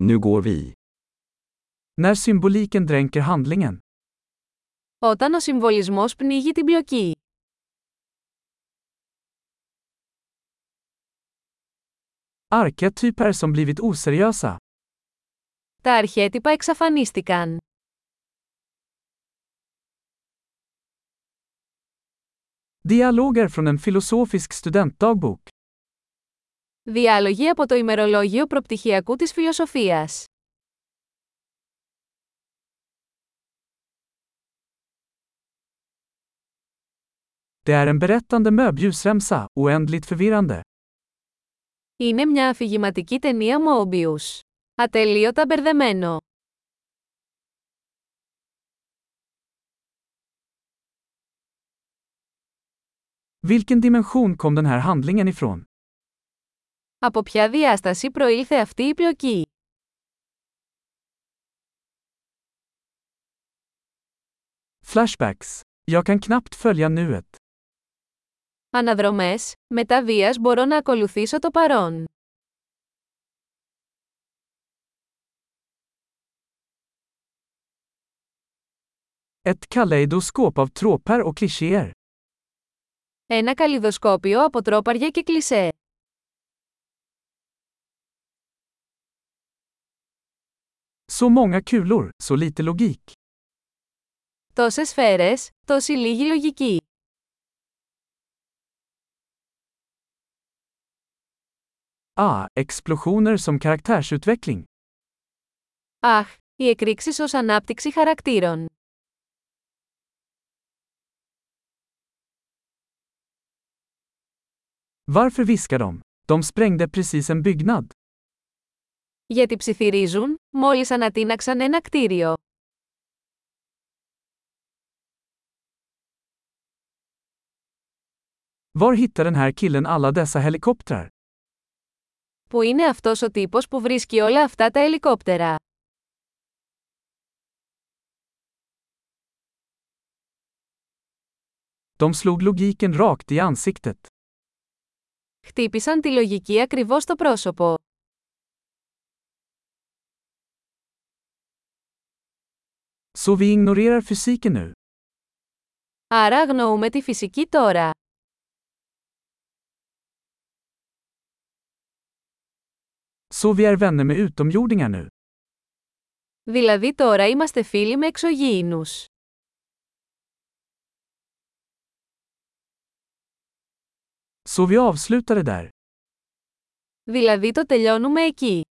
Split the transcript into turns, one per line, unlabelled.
Nu går vi.
När symboliken dränker handlingen.
Όταν ο συμβολισμός πνίγει την πλοκή.
Arketyper som blivit oseriösa.
Τα αρχέτυπα εξαφανίστηκαν.
Dialoger från en filosofisk studentdagbok.
Διάλογοι από το ημερολόγιο προπτυχιακού της φιλοσοφίας.
Det är en berättande möbljusremsa, oändligt förvirrande.
Είναι μια αφηγηματική ταινία Mobius. Ατελείωτα μπερδεμένο.
Vilken dimension kom den här handlingen ifrån?
Από ποια διάσταση προήλθε αυτή η πλοκή.
Flashbacks. Jag kan knappt följa nuet.
Αναδρομές, μετά βίας μπορώ να ακολουθήσω το παρόν.
Ett kaleidoskop av tråpar och klichéer.
Ένα καλλιδοσκόπιο από τρόπαρια και κλισέ.
Så många kulor, så lite logik.
Τόσες σφαίρες, τόση λίγη λογική.
Ah, explosioner som karaktärsutveckling.
Αχ, οι εκρήξεις ως ανάπτυξη χαρακτήρων.
Varför viskar de? De sprängde precis en byggnad.
Γιατί ψιθυρίζουν, μόλις ανατείναξαν ένα κτίριο.
Var hittar den här killen alla dessa helikoptrar?
Που είναι αυτός ο τύπος που βρίσκει όλα αυτά τα ελικόπτερα.
De slog logiken rakt i ansiktet.
Χτύπησαν τη λογική ακριβώς στο πρόσωπο.
Så vi ignorerar fysiken nu.
Άρα αγνοούμε τη φυσική τώρα.
Så vi är vänner med utomjordingar nu.
Δηλαδή τώρα είμαστε φίλοι με εξωγήινους.
Så vi avslutar det där.
Δηλαδή το τελειώνουμε εκεί.